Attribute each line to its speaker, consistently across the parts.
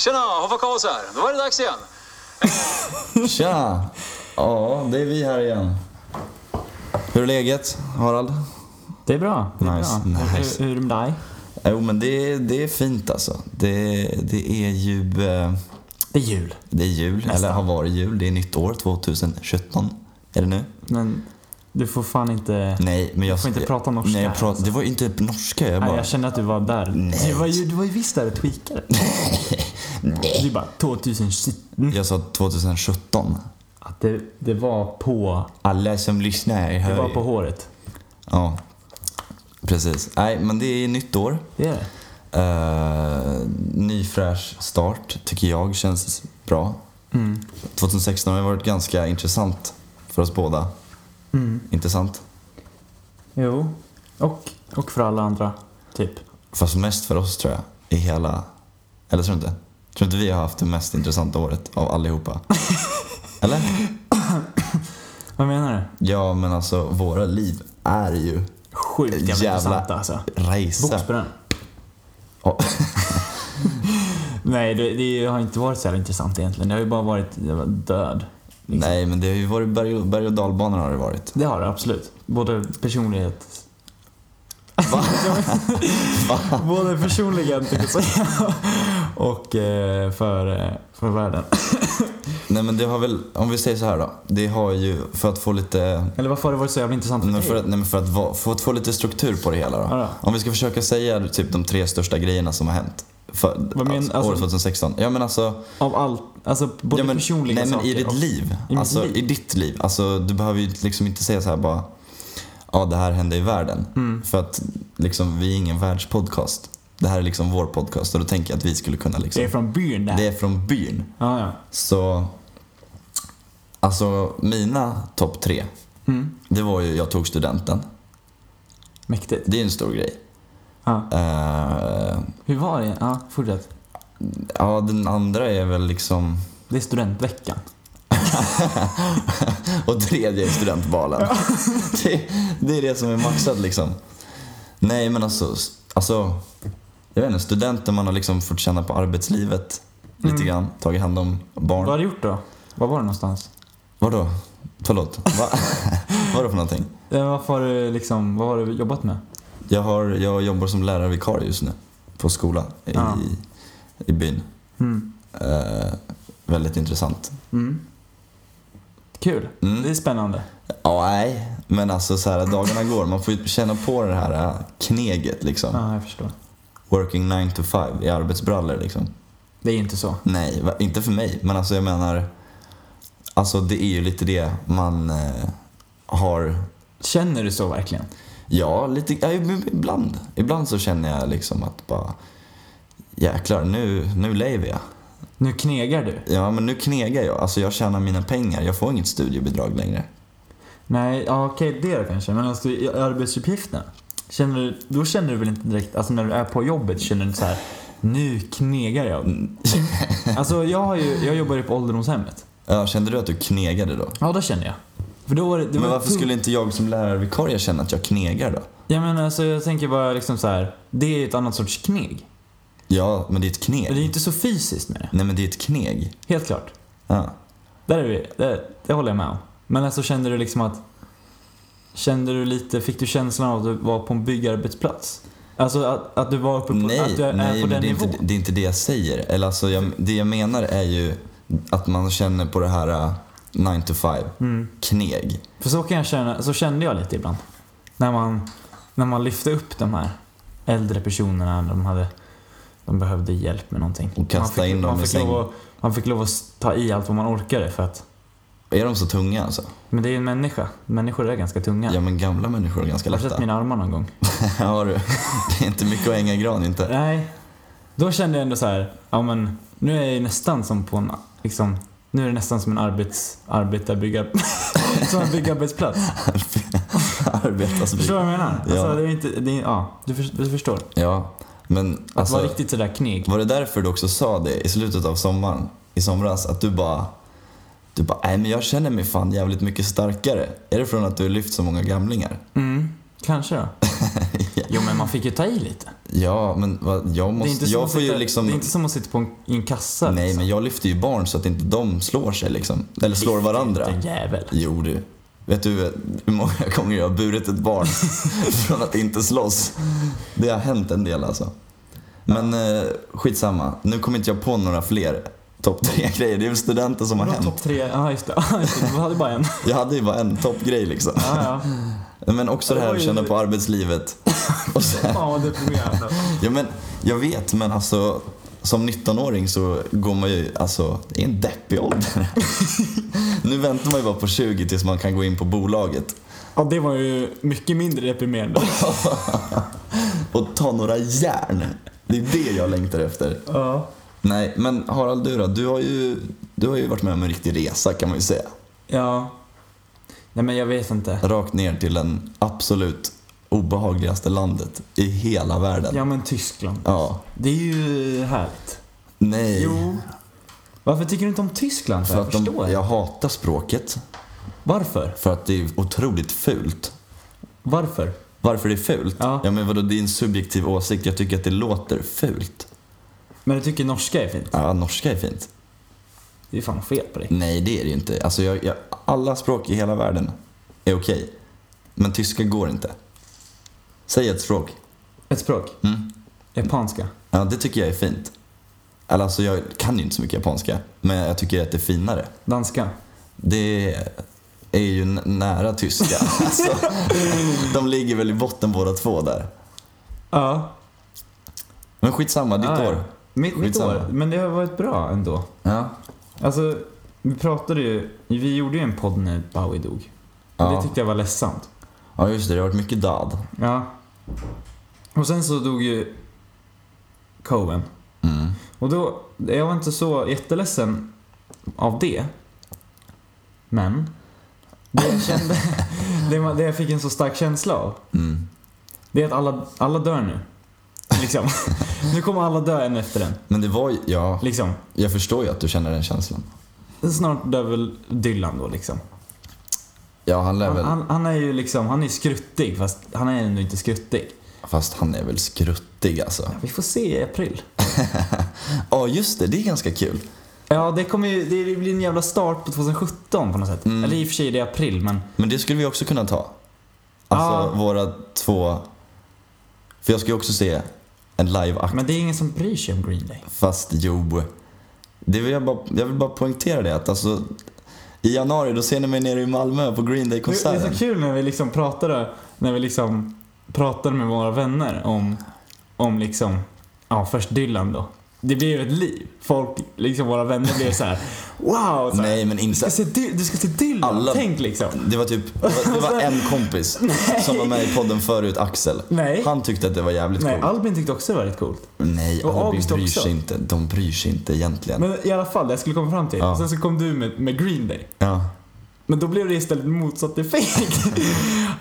Speaker 1: Tjena, Hoffa Karls här. Då var det dags igen.
Speaker 2: Tja! Ja, det är vi här igen. Hur är läget, Harald?
Speaker 3: Det är bra. Det är
Speaker 2: Nice,
Speaker 3: bra. Och
Speaker 2: nice.
Speaker 3: Hur, hur är det med dig?
Speaker 2: Jo, men det, det är fint alltså. Det, det är ju... eh,
Speaker 3: Det är jul.
Speaker 2: Det är jul, eller har varit jul. Det är nytt år, 2017. Är det nu?
Speaker 3: Men du får fan inte...
Speaker 2: Nej, men jag...
Speaker 3: Du får inte prata norska
Speaker 2: Nej, jag
Speaker 3: här,
Speaker 2: pratar,
Speaker 3: alltså.
Speaker 2: det var ju inte norska. Jag
Speaker 3: Nej,
Speaker 2: bara...
Speaker 3: jag känner att du var där.
Speaker 2: Nej.
Speaker 3: Du var ju, du var ju visst där och tweakade. Du bara 2017.
Speaker 2: Jag sa 2017.
Speaker 3: Att det, det var på...
Speaker 2: Alla som lyssnar
Speaker 3: Det
Speaker 2: hör
Speaker 3: var
Speaker 2: ju.
Speaker 3: på håret.
Speaker 2: Ja, precis. Nej, men det är nytt år.
Speaker 3: Det är det.
Speaker 2: Uh, ny fräsch start tycker jag känns bra. 2016 har varit ganska intressant för oss båda. Intressant.
Speaker 3: Jo. Och, och för alla andra. Typ.
Speaker 2: Fast mest för oss tror jag. I hela... Eller tror du inte? Tror du inte vi har haft det mest intressanta året av allihopa? Eller?
Speaker 3: Vad menar du?
Speaker 2: Ja, men alltså våra liv är ju
Speaker 3: Sjukt jävla,
Speaker 2: Jävla-
Speaker 3: intressant alltså.
Speaker 2: rejsa.
Speaker 3: Boksbränn.
Speaker 2: Ja.
Speaker 3: Nej, det, det har inte varit så jävla intressant egentligen. Det har ju bara varit det var död.
Speaker 2: Nej, men det har ju varit berg och, berg och dalbanor har det varit.
Speaker 3: Det har det absolut. Både personlighet...
Speaker 2: Va?
Speaker 3: Både personligen tänkte jag säga. Och eh, för, eh, för världen.
Speaker 2: Nej, men det har väl... Om vi säger så här då. Det har ju, för att få lite
Speaker 3: Eller varför har det varit så jävla intressant
Speaker 2: Men för
Speaker 3: dig?
Speaker 2: att, nej, men för att, va, för att få lite struktur på det hela då.
Speaker 3: Ja, då.
Speaker 2: Om vi ska försöka säga typ de tre största grejerna som har hänt. För,
Speaker 3: men,
Speaker 2: alltså,
Speaker 3: alltså-
Speaker 2: år 2016. Ja men alltså.
Speaker 3: Av allt, alltså både
Speaker 2: ja, men,
Speaker 3: personliga
Speaker 2: nej, men
Speaker 3: saker
Speaker 2: i ditt
Speaker 3: och...
Speaker 2: liv.
Speaker 3: mitt
Speaker 2: alltså
Speaker 3: liv.
Speaker 2: i ditt liv. Alltså du behöver ju liksom inte säga så här bara. Ja det här hände i världen.
Speaker 3: Mm.
Speaker 2: För att liksom vi är ingen världspodcast. Det här är liksom vår podcast och då tänker jag att vi skulle kunna liksom.
Speaker 3: Det är från byn det här.
Speaker 2: det är från byn.
Speaker 3: Ja, ja.
Speaker 2: Så, alltså mina topp tre.
Speaker 3: Mm.
Speaker 2: Det var ju jag tog studenten.
Speaker 3: Mäktigt.
Speaker 2: Det är en stor grej.
Speaker 3: Ja.
Speaker 2: Eh,
Speaker 3: Hur var det? Ja, fortsätt.
Speaker 2: ja, den andra är väl liksom...
Speaker 3: Det är studentveckan.
Speaker 2: Och tredje är studentbalen. det, det är det som är maxat liksom. Nej, men alltså, s- alltså... Jag vet inte, studenten man har liksom fått känna på arbetslivet lite grann. Tagit hand om barn.
Speaker 3: Vad har du gjort då? Mm. Var var du någonstans?
Speaker 2: Vadå? Förlåt. Va? Vadå för någonting?
Speaker 3: Eh, Varför har du liksom, vad har du jobbat med?
Speaker 2: Jag, har, jag jobbar som lärarvikarie just nu. På skolan i,
Speaker 3: Ja.
Speaker 2: i byn.
Speaker 3: Mm.
Speaker 2: Eh, väldigt intressant.
Speaker 3: Mm. Kul.
Speaker 2: Mm.
Speaker 3: Det är spännande.
Speaker 2: Ja, nej. Men alltså så här, dagarna går. Man får ju känna på det här äh, kneget liksom.
Speaker 3: Ja, jag förstår.
Speaker 2: Working 9 to 5 i arbetsbrallor liksom.
Speaker 3: Det är ju inte så.
Speaker 2: Nej, va- inte för mig. Men alltså jag menar, alltså det är ju lite det man eh, har.
Speaker 3: Känner du så verkligen?
Speaker 2: Ja, lite, ja, ib- ibland. Ibland så känner jag liksom att bara, jäklar nu, nu lever jag.
Speaker 3: Nu knegar du.
Speaker 2: Ja, men nu knegar jag. Alltså jag tjänar mina pengar. Jag får inget studiebidrag längre.
Speaker 3: Nej, ja, okej det kanske. Men alltså i arbetsuppgifterna. Känner du, då känner du väl inte direkt, alltså när du är på jobbet känner du inte så här. Nu knegar jag. Alltså jag, har ju, jag jobbar ju på ålderdomshemmet.
Speaker 2: Ja, kände du att du knegade då?
Speaker 3: Ja, då känner jag. För då var det, det
Speaker 2: Men
Speaker 3: var
Speaker 2: varför
Speaker 3: tungt.
Speaker 2: skulle inte jag som lärarvikarie känna att jag knegar då?
Speaker 3: Ja men alltså jag tänker bara liksom så här. Det är ju ett annat sorts kneg.
Speaker 2: Ja, men det är ett kneg.
Speaker 3: Men det är ju inte så fysiskt med det.
Speaker 2: Nej, men det är ett kneg.
Speaker 3: Helt klart.
Speaker 2: Ja.
Speaker 3: Där är vi, det, det håller jag med om. Men alltså kände du liksom att... Kände du lite, fick du känslan av att du var på en byggarbetsplats? Alltså att, att du var uppe på, att
Speaker 2: Nej,
Speaker 3: du är
Speaker 2: nej
Speaker 3: på
Speaker 2: men
Speaker 3: den
Speaker 2: det, är
Speaker 3: nivån?
Speaker 2: inte, det är inte det jag säger. Eller alltså, jag, det jag menar är ju att man känner på det här 9 to 5, kneg.
Speaker 3: Mm. För så kan jag känna, så kände jag lite ibland. När man, när man lyfte upp de här äldre personerna, de hade de behövde hjälp med någonting.
Speaker 2: Och kasta
Speaker 3: man fick,
Speaker 2: in dem
Speaker 3: man
Speaker 2: i
Speaker 3: fick
Speaker 2: sängen.
Speaker 3: lov att, Man fick lov att ta i allt vad man orkade för att...
Speaker 2: Är de så tunga alltså?
Speaker 3: Men det är ju en människa. Människor är ganska tunga.
Speaker 2: Ja, men gamla människor är ganska
Speaker 3: Har du sett
Speaker 2: lätta.
Speaker 3: mina armar någon gång?
Speaker 2: ja, du. Det är inte mycket att hänga i gran inte.
Speaker 3: Nej. Då kände jag ändå så här, ja men nu är jag ju nästan som på en, liksom, nu är det nästan som en arbets, arbetarbyggar, som en byggarbetsplats.
Speaker 2: Arbeta så
Speaker 3: Förstår
Speaker 2: mycket.
Speaker 3: du vad jag menar?
Speaker 2: Ja.
Speaker 3: Alltså, det är inte, det är, ja, du, för, du förstår. Att
Speaker 2: Ja, men alltså.
Speaker 3: vara riktigt sådär kneg.
Speaker 2: Var det därför du också sa det i slutet av sommaren, i somras? Att du bara, du bara, nej men jag känner mig fan jävligt mycket starkare. Är det från att du har lyft så många gamlingar?
Speaker 3: Mm, kanske då. Jo men man fick ju ta i lite.
Speaker 2: Ja, men vad- jag
Speaker 3: Det är
Speaker 2: måste...
Speaker 3: inte, som,
Speaker 2: Jag
Speaker 3: att
Speaker 2: får
Speaker 3: sitta,
Speaker 2: ju liksom...
Speaker 3: det är inte som att sitta på en, i en kassa.
Speaker 2: Nej,
Speaker 3: liksom.
Speaker 2: men jag lyfter ju barn så att inte de slår sig liksom. Eller slår varandra.
Speaker 3: Liten jävel.
Speaker 2: Jo du. Vet du hur många gånger jag har burit ett barn från att inte slåss? Det har hänt en del alltså. Men eh, skitsamma, nu kommer inte jag på några fler topp tre grejer. Det är väl studenten som har
Speaker 3: Vadå
Speaker 2: hänt.
Speaker 3: topp tre? Ja just det. Ja, just det. Du hade bara en.
Speaker 2: Jag hade ju bara en toppgrej liksom.
Speaker 3: Ja, ja.
Speaker 2: Men också det här att
Speaker 3: Oj.
Speaker 2: känna på arbetslivet. Och sen,
Speaker 3: Fan vad deprimerande.
Speaker 2: ja, men, jag vet, men alltså som 19-åring så går man ju alltså i en deppig ålder. nu väntar man ju bara på 20 tills man kan gå in på bolaget.
Speaker 3: Ja det var ju mycket mindre deprimerande.
Speaker 2: och ta några järn. Det är det jag längtar efter.
Speaker 3: Ja.
Speaker 2: Nej, men Harald du då? Du har ju, du har ju varit med om en riktig resa kan man ju säga.
Speaker 3: Ja. Nej men jag vet inte.
Speaker 2: Rakt ner till den absolut obehagligaste landet i hela världen. Ja.
Speaker 3: Ja men Tyskland. Det är ju härligt.
Speaker 2: Nej.
Speaker 3: Jo. Varför tycker du inte om Tyskland? För
Speaker 2: För
Speaker 3: jag
Speaker 2: att de,
Speaker 3: förstår.
Speaker 2: jag hatar språket.
Speaker 3: Varför?
Speaker 2: För att det är otroligt fult.
Speaker 3: Varför?
Speaker 2: Varför det är fult?
Speaker 3: Ja.
Speaker 2: ja men vadå, det är en subjektiv åsikt. Jag tycker att det låter fult.
Speaker 3: Men du tycker norska är fint?
Speaker 2: Ja, norska är fint.
Speaker 3: Det är fan fel på dig.
Speaker 2: Nej, det är det ju inte. Alltså, jag, jag, alla språk i hela världen är okej. Men tyska går inte. Säg ett språk.
Speaker 3: Ett språk?
Speaker 2: Mm.
Speaker 3: Japanska?
Speaker 2: Ja, det tycker jag är fint. Eller alltså, jag kan ju inte så mycket japanska, men jag tycker att det är finare.
Speaker 3: Danska?
Speaker 2: Det är ju n- nära tyska. alltså, de ligger väl i botten båda två där.
Speaker 3: Ja.
Speaker 2: Men skitsamma, ditt
Speaker 3: Ah, ja.
Speaker 2: år.
Speaker 3: Mitt, mitt
Speaker 2: Skitsamma.
Speaker 3: år. Men det har varit bra ändå.
Speaker 2: Ja.
Speaker 3: Alltså, vi pratade ju... Vi gjorde ju en podd när Bowie dog. Och Det
Speaker 2: Ja.
Speaker 3: tyckte jag var ledsamt.
Speaker 2: ja, just det. Det har varit mycket dad.
Speaker 3: Ja. Och sen så dog ju Cohen.
Speaker 2: Mm.
Speaker 3: Och då, jag var inte så jätteledsen av det. Men, det jag kände, det, man- det jag fick en så stark känsla av,
Speaker 2: Mm.
Speaker 3: det är att alla, alla dör nu. Liksom. Nu kommer alla dö en efter en.
Speaker 2: Men det var ju, ja,
Speaker 3: Liksom.
Speaker 2: jag förstår ju att du känner den känslan.
Speaker 3: Snart dör väl Dylan då liksom.
Speaker 2: Ja, han lär
Speaker 3: Han,
Speaker 2: väl...
Speaker 3: han, han är ju liksom, han är skruttig fast han är ändå inte skruttig.
Speaker 2: Fast han är väl skruttig alltså.
Speaker 3: Vi får se i april.
Speaker 2: Ja, just det. Det är ganska kul.
Speaker 3: Ja, det kommer ju, det blir en jävla start på 2017 på något sätt.
Speaker 2: Mm.
Speaker 3: Eller i och för sig det är april men.
Speaker 2: Men det skulle vi också kunna ta. Alltså
Speaker 3: Ja.
Speaker 2: våra två... För jag ska ju också se en live-akt.
Speaker 3: Men det är ingen som bryr sig om Green Day.
Speaker 2: Fast jo. Det vill jag, bara, jag vill bara poängtera det att alltså... I januari då ser ni mig nere i Malmö på Green
Speaker 3: Det det är
Speaker 2: Day-konserten.
Speaker 3: så kul när vi liksom pratade, när vi liksom pratade med våra vänner om, om liksom, ja först Dylan då. Det blev ett liv. Folk, liksom våra vänner blev så här: wow! Så här,
Speaker 2: Nej men
Speaker 3: du, ska
Speaker 2: inte...
Speaker 3: se, Dy- du ska se Dylan,
Speaker 2: Alla-
Speaker 3: tänk liksom.
Speaker 2: Det var typ, det var, det
Speaker 3: Alltså,
Speaker 2: var en kompis som var med i podden förut, Axel.
Speaker 3: Nej.
Speaker 2: Han tyckte att det var jävligt
Speaker 3: Nej,
Speaker 2: coolt.
Speaker 3: Albin tyckte också det var rätt coolt.
Speaker 2: Nej,
Speaker 3: Och
Speaker 2: Albin
Speaker 3: August
Speaker 2: bryr
Speaker 3: också.
Speaker 2: sig inte. De bryr sig inte egentligen.
Speaker 3: Men i alla fall, det jag skulle komma fram till.
Speaker 2: Ja.
Speaker 3: Sen så kom du med, med Green Day.
Speaker 2: Ja.
Speaker 3: Men då blev det istället motsatt effekt.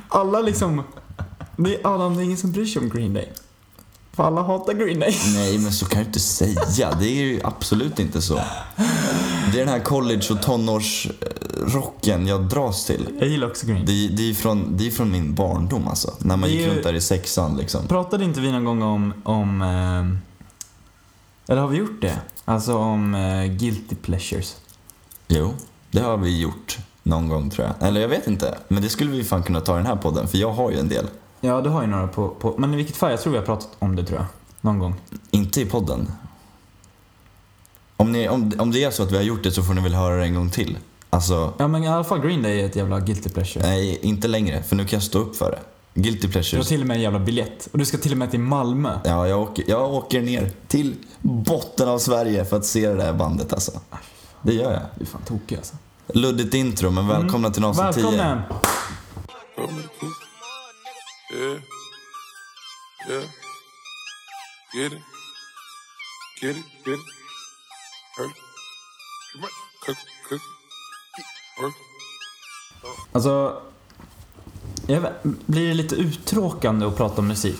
Speaker 3: Alla liksom... Det är, alla, det är ingen som bryr sig om Green Day. För alla hatar Green Day.
Speaker 2: Nej, men så kan du inte säga. Det är ju absolut inte så. Det är den här college och tonårsrocken jag dras till.
Speaker 3: Jag gillar också Green Day.
Speaker 2: Det, det, är, från, det är från min barndom alltså. När man
Speaker 3: Det är
Speaker 2: gick
Speaker 3: ju-
Speaker 2: runt där i sexan liksom.
Speaker 3: Pratade inte vi någon gång om... om ehm, eller har vi gjort det? Alltså om eh, guilty pleasures.
Speaker 2: Jo, det har vi gjort någon gång tror jag. Eller jag vet inte. Men det skulle vi fan kunna ta i den här podden, för jag har ju en del.
Speaker 3: Ja, det har ju några på... på men i vilket fall, jag tror vi har pratat om det tror jag. Någon gång.
Speaker 2: Inte i podden. Om, ni, om, om det är så att vi har gjort det så får ni väl höra det en gång till. Alltså,
Speaker 3: Ja, men i alla fall Green Day är ett jävla guilty pleasure.
Speaker 2: nej, inte längre. För nu kan jag stå upp för det. Guilty
Speaker 3: Du har
Speaker 2: pleasures.
Speaker 3: till och med en jävla biljett. Och du ska till och med till Malmö.
Speaker 2: Ja, jag åker, jag åker ner till botten av Sverige för att se det där bandet alltså. Det gör jag.
Speaker 3: Du är fan tokig alltså. Mm.
Speaker 2: Luddigt intro, men välkomna till Nasen 10.
Speaker 3: Välkommen!
Speaker 4: Yeah. Yeah. Get it. Get it. Get it. Hurt. Come on. Cook. Cook. Work.
Speaker 3: Alltså, jag vet, blir det lite uttråkande att prata om musik?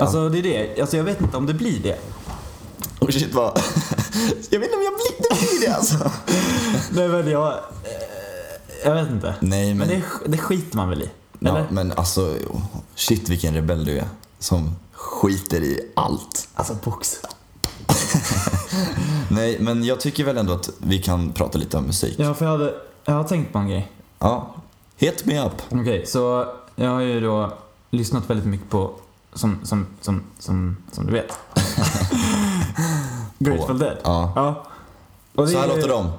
Speaker 3: Alltså det är det, alltså, jag vet inte om det blir det.
Speaker 2: Oh shit vad... jag vet inte om jag blir det, blir det alltså.
Speaker 3: Nej men jag, eh, jag vet inte.
Speaker 2: Nej, men,
Speaker 3: Men det, det skiter man väl i?
Speaker 2: Ja,
Speaker 3: Eller?
Speaker 2: men alltså, shit vilken rebell du är. Som skiter i allt.
Speaker 3: Alltså boxa.
Speaker 2: Nej, men jag tycker väl ändå att vi kan prata lite om musik.
Speaker 3: Ja, för jag hade, jag har tänkt på en grej.
Speaker 2: Ja. Hit me up.
Speaker 3: Okej, så jag har ju då lyssnat väldigt mycket på, som, som, som, som, som du vet. Grateful Dead.
Speaker 2: Ja.
Speaker 3: ja. Och det
Speaker 2: Så här
Speaker 3: är ju-
Speaker 2: låter de.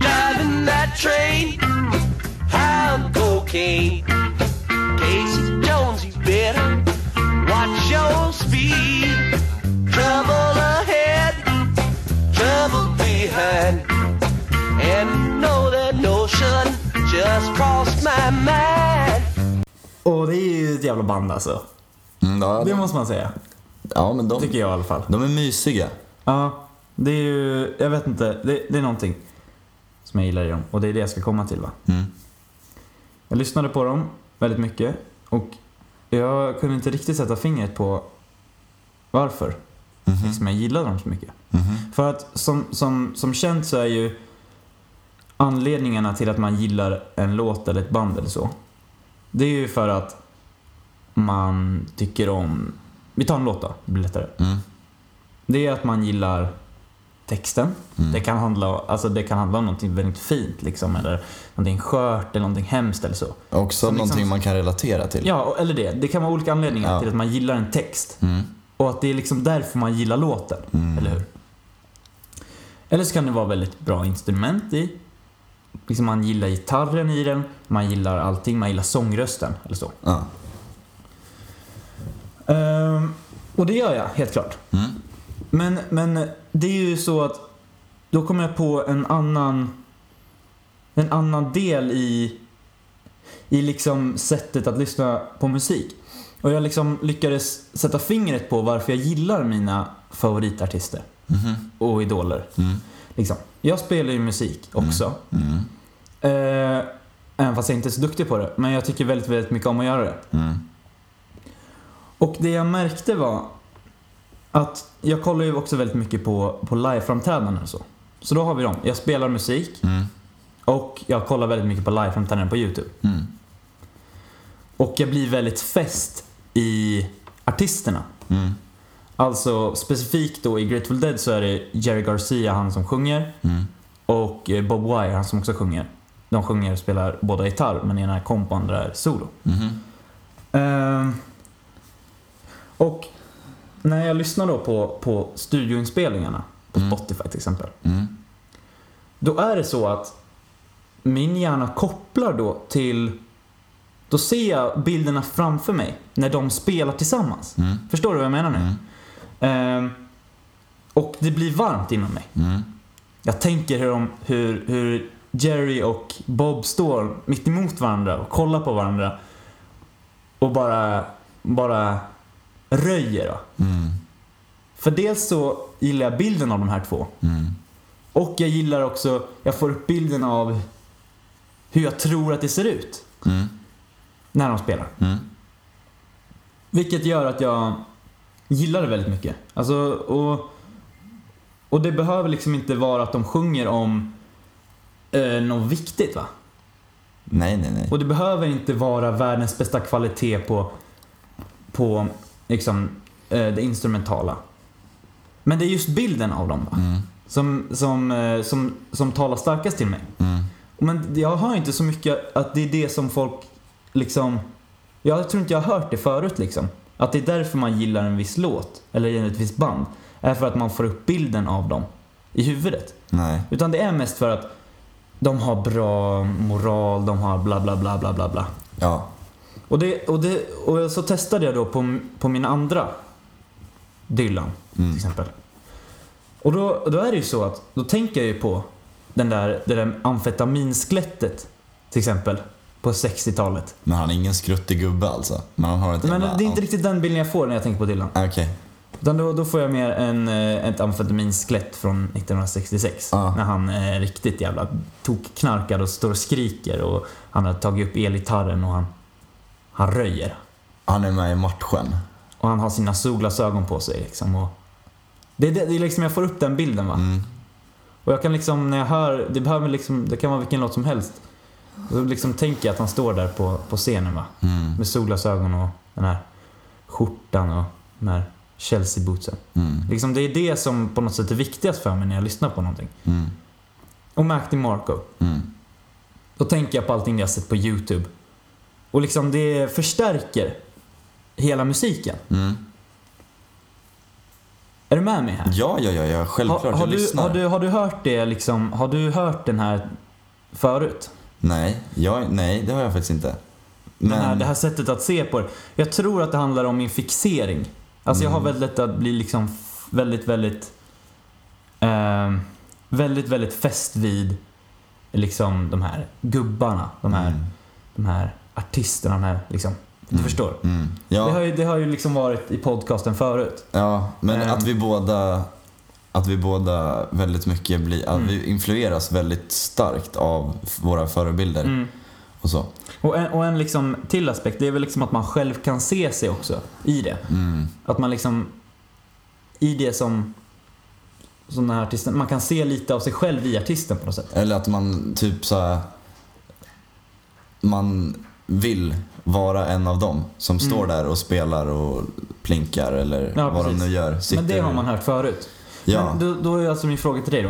Speaker 5: driving that train, high on cocaine. Casey Jones, you better watch your speed. Trouble ahead, trouble behind, and you know that notion just crossed my mind.
Speaker 3: Och det är ju ett jävla band alltså.
Speaker 2: Mm, ja,
Speaker 3: Det
Speaker 2: de-
Speaker 3: måste man säga.
Speaker 2: ja, men de,
Speaker 3: Tycker jag i alla fall.
Speaker 2: de är mysiga.
Speaker 3: Ja, det är ju, jag vet inte, det, det är någonting som jag gillar i dem och det är det jag ska komma till va.
Speaker 2: Mm.
Speaker 3: Jag lyssnade på dem väldigt mycket och jag kunde inte riktigt sätta fingret på varför som jag gillade dem så mycket. För att som, som, som känt så är ju anledningarna till att man gillar en låt eller ett band eller så. Det är ju för att man tycker om, vi tar en låt då, det blir lättare.
Speaker 2: Mm.
Speaker 3: Det är att man gillar texten.
Speaker 2: Mm.
Speaker 3: Det, kan handla, alltså det kan handla om någonting väldigt fint liksom, eller någonting skört eller någonting hemskt eller så.
Speaker 2: Också
Speaker 3: Som
Speaker 2: någonting
Speaker 3: liksom-
Speaker 2: man kan relatera till.
Speaker 3: Ja, och- eller det. Det kan vara olika anledningar
Speaker 2: Ja.
Speaker 3: till att man gillar en text.
Speaker 2: Mm.
Speaker 3: Och att det är liksom därför man gillar låten, eller hur? Eller så kan det vara väldigt bra instrument i. Liksom man gillar gitarren i den, man gillar allting, man gillar sångrösten eller så.
Speaker 2: Ja.
Speaker 3: Ehm, och det gör jag, helt klart.
Speaker 2: Mm.
Speaker 3: Men, men det är ju så att då kommer jag på en annan en annan del i i liksom sättet att lyssna på musik. Och jag liksom lyckades sätta fingret på varför jag gillar mina favoritartister
Speaker 2: Mhm.
Speaker 3: och idoler.
Speaker 2: Mm.
Speaker 3: Liksom. Jag spelar ju musik också.
Speaker 2: Mm.
Speaker 3: Eh, även fast jag inte är så duktig på det. Men jag tycker väldigt, väldigt mycket om att göra det.
Speaker 2: Mm.
Speaker 3: Och det jag märkte var att jag kollar ju också väldigt mycket på, på liveframträdanden och så. Så då har vi dem. Jag spelar musik
Speaker 2: Mm.
Speaker 3: och jag kollar väldigt mycket på liveframträdanden på YouTube.
Speaker 2: Mm.
Speaker 3: Och jag blir väldigt fäst i artisterna.
Speaker 2: Mm.
Speaker 3: Alltså specifikt då i Grateful Dead så är det Jerry Garcia, han som sjunger,
Speaker 2: Mm.
Speaker 3: och eh, Bob Wire, han som också sjunger. De sjunger och spelar båda gitarr, men ena är komp och andra är solo.
Speaker 2: Mhm.
Speaker 3: Ehm, och när jag lyssnar då på, på studioinspelningarna på
Speaker 2: Mm.
Speaker 3: Spotify till exempel.
Speaker 2: Mm.
Speaker 3: Då är det så att min hjärna kopplar då till... Då ser jag bilderna framför mig när de spelar tillsammans.
Speaker 2: Mm.
Speaker 3: Förstår du vad jag menar nu? Ehm, och det blir varmt inom mig.
Speaker 2: Mm.
Speaker 3: Jag tänker hur, de, hur, hur Jerry och Bob står mitt emot varandra och kollar på varandra. Och bara, bara röjer. Då.
Speaker 2: Mm.
Speaker 3: För dels så gillar jag bilden av de här två.
Speaker 2: Mm.
Speaker 3: Och jag gillar också, jag får upp bilden av hur jag tror att det ser ut
Speaker 2: Mm.
Speaker 3: när de spelar.
Speaker 2: Mm.
Speaker 3: Vilket gör att jag gillar det väldigt mycket. Alltså, och, och det behöver liksom inte vara att de sjunger om eh, något viktigt va?
Speaker 2: Nej, nej, nej.
Speaker 3: Och det behöver inte vara världens bästa kvalitet på, på liksom, eh, det instrumentala. Men det är just bilden av dem va?
Speaker 2: Mm.
Speaker 3: Som, som, eh, som, som talar starkast till mig.
Speaker 2: Mm.
Speaker 3: Men jag hör inte så mycket att det är det som folk liksom... Jag tror inte jag har hört det förut liksom. Att det är därför man gillar en viss låt, eller ett visst band. Är för att man får upp bilden av dem i huvudet.
Speaker 2: Nej.
Speaker 3: Utan det är mest för att de har bra moral, de har bla bla bla bla bla bla.
Speaker 2: Ja.
Speaker 3: Och, det, och, det, och så testade jag då på, på min andra Dylan till exempel. Och då, då är det ju så att då tänker jag ju på den där, det där amfetaminsklättet till exempel på 60-talet.
Speaker 2: Men han är ingen skruttig gubbe alltså. Men han har ett
Speaker 3: Men
Speaker 2: jävla-
Speaker 3: det är inte riktigt den bilden jag får när jag tänker på Dylan.
Speaker 2: Ah, Okej.
Speaker 3: Utan då, då får jag mer en, eh, ett amfetaminskelett från 1966.
Speaker 2: Ja.
Speaker 3: När han är riktigt jävla tokknarkad och står och skriker och han har tagit upp elgitarren och han, han röjer.
Speaker 2: Han är med i matchen.
Speaker 3: Och han har sina solglasögon på sig liksom. Och det, är det, det är liksom jag får upp den bilden va. Och jag kan liksom, när jag hör, det behöver liksom, det kan vara vilken låt som helst. Så liksom tänker jag att han står där på, på scenen va.
Speaker 2: Mm.
Speaker 3: Med solglasögon och den här skjortan och den här Chelsea-bootsen.
Speaker 2: Mm.
Speaker 3: Liksom det är det som på något sätt är viktigast för mig när jag lyssnar på någonting.
Speaker 2: Mm.
Speaker 3: Och Mac DeMarco.
Speaker 2: Mm.
Speaker 3: Då tänker jag på allting jag sett på YouTube. Och liksom det förstärker hela musiken.
Speaker 2: Mm.
Speaker 3: Är du med mig här?
Speaker 2: Ja, ja, ja, ja, självklart.
Speaker 3: har,
Speaker 2: jag
Speaker 3: du,
Speaker 2: lyssnar.
Speaker 3: har, du, har du hört det liksom, har du hört den här förut?
Speaker 2: Nej, jag, nej, det har jag faktiskt inte. Men,
Speaker 3: Den här, det här sättet att se på det. Jag tror att det handlar om min fixering. Alltså jag har
Speaker 2: Mm.
Speaker 3: väldigt lätt att bli liksom f- väldigt, väldigt, ehm, väldigt, väldigt fäst vid liksom de här gubbarna, de här,
Speaker 2: Mm.
Speaker 3: de här artisterna, de här liksom. Du förstår?
Speaker 2: Mm. Ja,
Speaker 3: Det, har ju, det har ju liksom varit i podcasten förut.
Speaker 2: ja, men
Speaker 3: Ehm.
Speaker 2: att vi båda att vi båda väldigt mycket blir,
Speaker 3: Mm.
Speaker 2: att vi influeras väldigt starkt av f- våra förebilder
Speaker 3: Mm.
Speaker 2: och så.
Speaker 3: Och en, och en liksom till aspekt, det är väl liksom att man själv kan se sig också i det.
Speaker 2: Mm.
Speaker 3: Att man liksom, i det som, som den här artisten, man kan se lite av sig själv i artisten på något sätt.
Speaker 2: Eller att man typ så här, man vill vara en av dem som står där och spelar och plinkar eller
Speaker 3: Mm. Ja,
Speaker 2: vad
Speaker 3: precis.
Speaker 2: de nu gör. Sitter...
Speaker 3: Men det har man hört förut.
Speaker 2: Ja. Mm.
Speaker 3: Men då, då är alltså min fråga till dig då.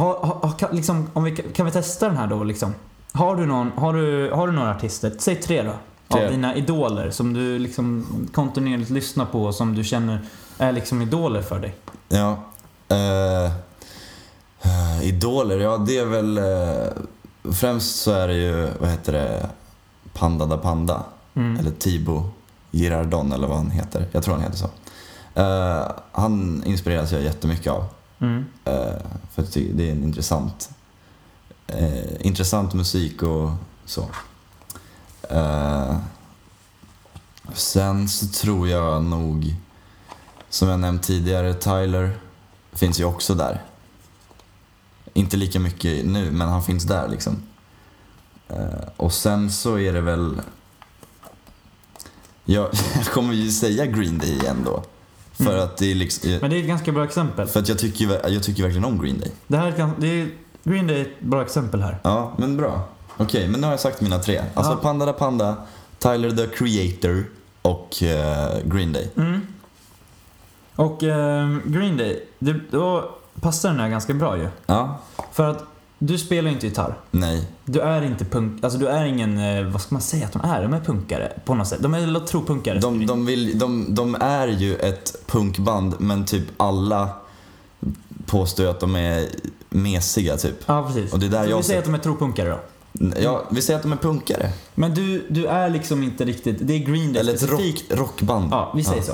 Speaker 3: Har, har, har, kan, liksom, om vi, kan vi testa den här då liksom? Har du, någon, har, du, har du några artister, säg tre då,
Speaker 2: Tre.
Speaker 3: av dina idoler som du liksom kontinuerligt lyssnar på och som du känner är liksom idoler för dig?
Speaker 2: Ja. Eh, eh, idoler, ja det är väl... eh, främst så är det ju, vad heter det, Panda da Panda. Eller Tibo Girardon eller vad han heter. Jag tror han heter så. Eh, han inspireras jag jättemycket av.
Speaker 3: Mm.
Speaker 2: Eh, för jag tycker det är en intressant, eh, intressant musik och så. Eh, sen så tror jag nog, som jag nämnt tidigare, Tyler finns ju också där. Inte lika mycket nu, men han finns där liksom. Eh, och sen så är det väl... Jag, jag kommer ju säga Green Day igen då. För att det är liksom...
Speaker 3: Men det är ett ganska bra exempel.
Speaker 2: För att jag tycker, ju- jag tycker verkligen om Green Day.
Speaker 3: Det här kan, det är, Green Day är ett bra exempel här.
Speaker 2: Ja, men bra. Okej, men nu har jag sagt mina tre. Alltså
Speaker 3: Ja.
Speaker 2: Panda da Panda, Tyler the Creator och eh, Green Day.
Speaker 3: Mm. Och ehm, Green Day, det, då passar den här ganska bra ju.
Speaker 2: Ja,
Speaker 3: För att du spelar ju inte gitarr.
Speaker 2: nej.
Speaker 3: Du är inte punk, alltså du är ingen, eh, vad ska man säga att de är? De är punkare på något sätt. De är eller tropunkare.
Speaker 2: De, de, vill, de, de är ju ett punkband, men typ alla påstår ju att de är mesiga typ.
Speaker 3: Ja precis.
Speaker 2: Och det är där
Speaker 3: Så
Speaker 2: jag
Speaker 3: vi säger
Speaker 2: ser-
Speaker 3: att de är tropunkare då. Mm.
Speaker 2: Ja, vi säger att de är punkare.
Speaker 3: Men du, du är liksom inte riktigt, det är Green Day
Speaker 2: Eller ett rock,
Speaker 3: specifikt.
Speaker 2: rockband.
Speaker 3: Ja, vi säger så.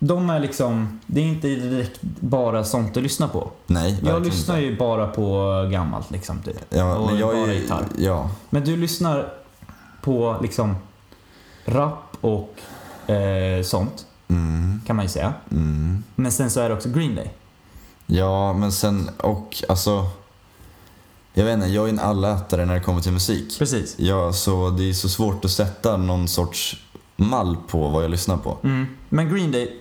Speaker 3: De är liksom, det är inte direkt bara sånt du lyssnar på.
Speaker 2: Nej,
Speaker 3: Jag
Speaker 2: verkligen
Speaker 3: lyssnar
Speaker 2: inte.
Speaker 3: ju bara på gammalt liksom typ.
Speaker 2: Ja,
Speaker 3: och
Speaker 2: men jag
Speaker 3: bara
Speaker 2: är ju...
Speaker 3: gitarr.
Speaker 2: Ja.
Speaker 3: Men du lyssnar på liksom rap och eh, sånt,
Speaker 2: Mm,
Speaker 3: kan man ju säga.
Speaker 2: mm.
Speaker 3: Men sen så är det också Green Day.
Speaker 2: Ja, men sen och alltså. Jag vet inte, jag är en allätare när det kommer till musik.
Speaker 3: Precis.
Speaker 2: Ja, så det är så svårt att sätta någon sorts mall på vad jag lyssnar på.
Speaker 3: Mm. Men Green Day,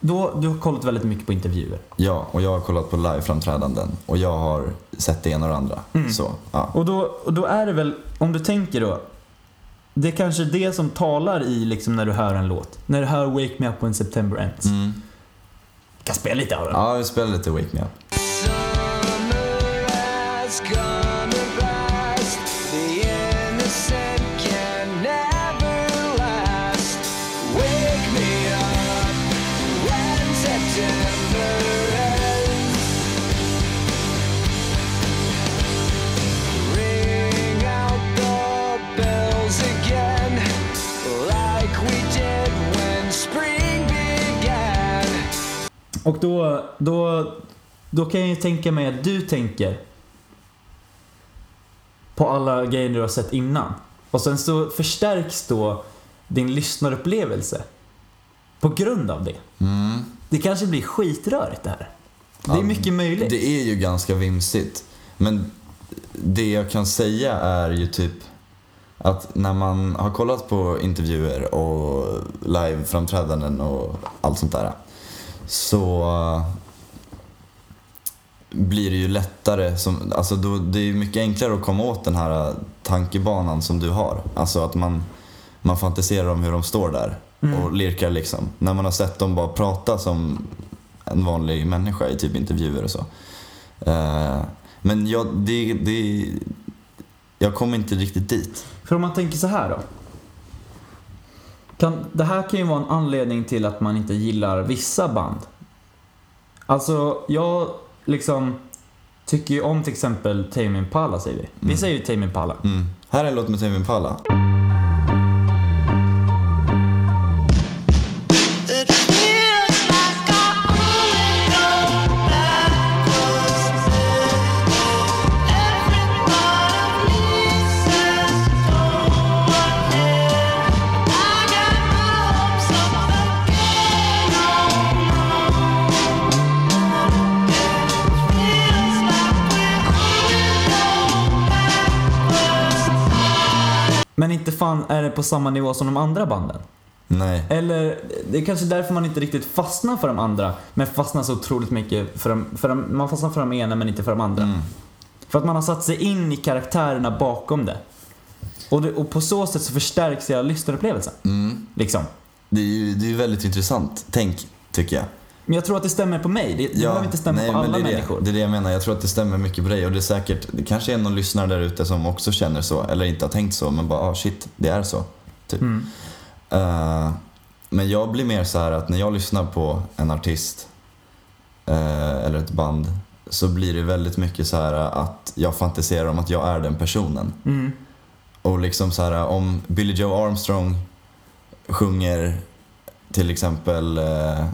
Speaker 3: då, du har kollat väldigt mycket på intervjuer.
Speaker 2: Ja, och jag har kollat på liveframträdanden och jag har sett det ena och det andra. Så, ja.
Speaker 3: Och då, och då är det väl, om du tänker då, det är kanske det som talar i liksom när du hör en låt. När du hör Wake Me Up When September Ends.
Speaker 2: Mm.
Speaker 3: kan spela lite av den.
Speaker 2: Ja, vi spelar lite Wake Me Up.
Speaker 5: Spring began.
Speaker 3: Och då, då, då kan jag ju tänka mig att du tänker på alla grejer du har sett innan. Och sen så förstärks då din lyssnarupplevelse på grund av det. Det kanske blir skitrörigt det här. Det är mycket möjligt.
Speaker 2: Det är ju ganska vimsigt. Men det jag kan säga är ju typ att när man har kollat på intervjuer och liveframträdanden och allt sånt där. Så äh, blir det ju lättare, som, alltså då, det är ju mycket enklare att komma åt den här eh, tankebanan som du har. Alltså att man, man fantiserar om hur de står där och lirkar liksom. När man har sett dem bara prata som en vanlig människa i typ intervjuer och så. Eh, men jag, det, det, jag kommer inte riktigt dit.
Speaker 3: För om man tänker så här då. Kan, det här kan ju vara en anledning till att man inte gillar vissa band. Alltså, jag liksom tycker ju om till exempel Tame Impala säger vi. Vi säger ju Tame Impala.
Speaker 2: Mm. Här är en låt med Tame Impala.
Speaker 6: It feels like I only know backwards. Every part of me says don't want it. I got my hopes up again. It feels like we only know backwards.
Speaker 3: Men inte fan är det på samma nivå som de andra banden.
Speaker 2: Nej.
Speaker 3: Eller det är kanske därför man inte riktigt fastnar för de andra. Men fastnar så otroligt mycket för de, för de, man fastnar för de ena men inte för de andra.
Speaker 2: Mm.
Speaker 3: För att man har satt sig in i karaktärerna bakom det. Och, det, och på så sätt så förstärks hela lyssnarupplevelsen.
Speaker 2: Mm.
Speaker 3: Liksom.
Speaker 2: Det är ju det är ju väldigt intressant tänk, tycker jag.
Speaker 3: Men jag tror att det stämmer på mig. Det, det behöver inte stämma
Speaker 2: nej,
Speaker 3: på
Speaker 2: men
Speaker 3: alla
Speaker 2: det är
Speaker 3: människor.
Speaker 2: Det, det är det jag menar. Jag tror att det stämmer mycket på dig. Och det, är säkert, det kanske är någon lyssnare där ute som också känner så, eller inte har tänkt så, men bara ah, shit, det är så. Typ.
Speaker 3: Mm.
Speaker 2: Eh, men jag blir mer så här att när jag lyssnar på en artist eh, eller ett band så blir det väldigt mycket så här att jag fantiserar om att jag är den personen.
Speaker 3: Mm.
Speaker 2: Och liksom så här om Billy Joe Armstrong sjunger till exempel eh,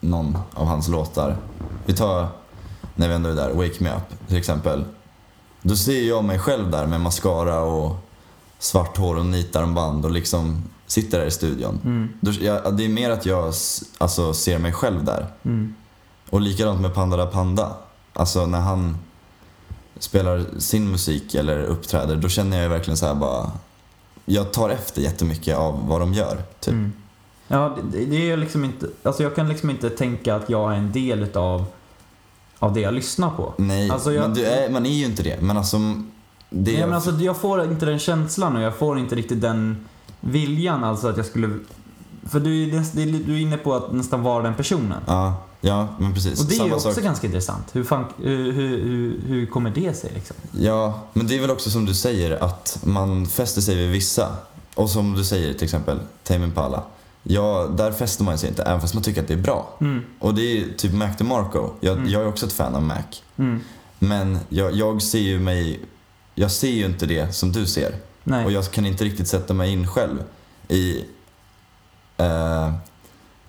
Speaker 2: någon av hans låtar. Vi tar, när vi ändå är där, Wake Me Up till exempel. Då ser jag mig själv där med mascara och svart hår och nitarmband och liksom sitter där i studion. Då, jag, det är mer att jag s- alltså, ser mig själv där. Och likadant med Panda da Panda. Alltså när han spelar sin musik eller uppträder, då känner jag ju verkligen så här bara... Jag tar efter jättemycket av vad de gör. Typ.
Speaker 3: Mm. Ja, det, det är ju liksom inte... Alltså jag kan liksom inte tänka att jag är en del utav av det jag lyssnar på.
Speaker 2: Nej,
Speaker 3: Alltså jag-
Speaker 2: men du är, man är ju inte det. Men alltså... Det
Speaker 3: Nej, men alltså, jag får inte den känslan och jag får inte riktigt den viljan alltså att jag skulle... För du, är näst- det är- du är inne på att nästan vara den personen.
Speaker 2: Ja, ja men precis.
Speaker 3: Och det är ju
Speaker 2: Samma
Speaker 3: också
Speaker 2: sak.
Speaker 3: ganska intressant. Hur, fan, hur, hur, hur, hur kommer det sig liksom?
Speaker 2: Ja, men det är väl också som du säger att man fäster sig vid vissa. Och som du säger till exempel, Tame Impala. Ja, där fäster man sig inte, även fast man tycker att det är bra.
Speaker 3: Mm.
Speaker 2: Och det är ju typ Mac DeMarco. Jag, jag är också ett fan av Mac. Mm. Men jag, jag ser ju mig... Jag ser ju inte det som du ser.
Speaker 3: Nej.
Speaker 2: Och jag kan inte riktigt sätta mig in själv i eh,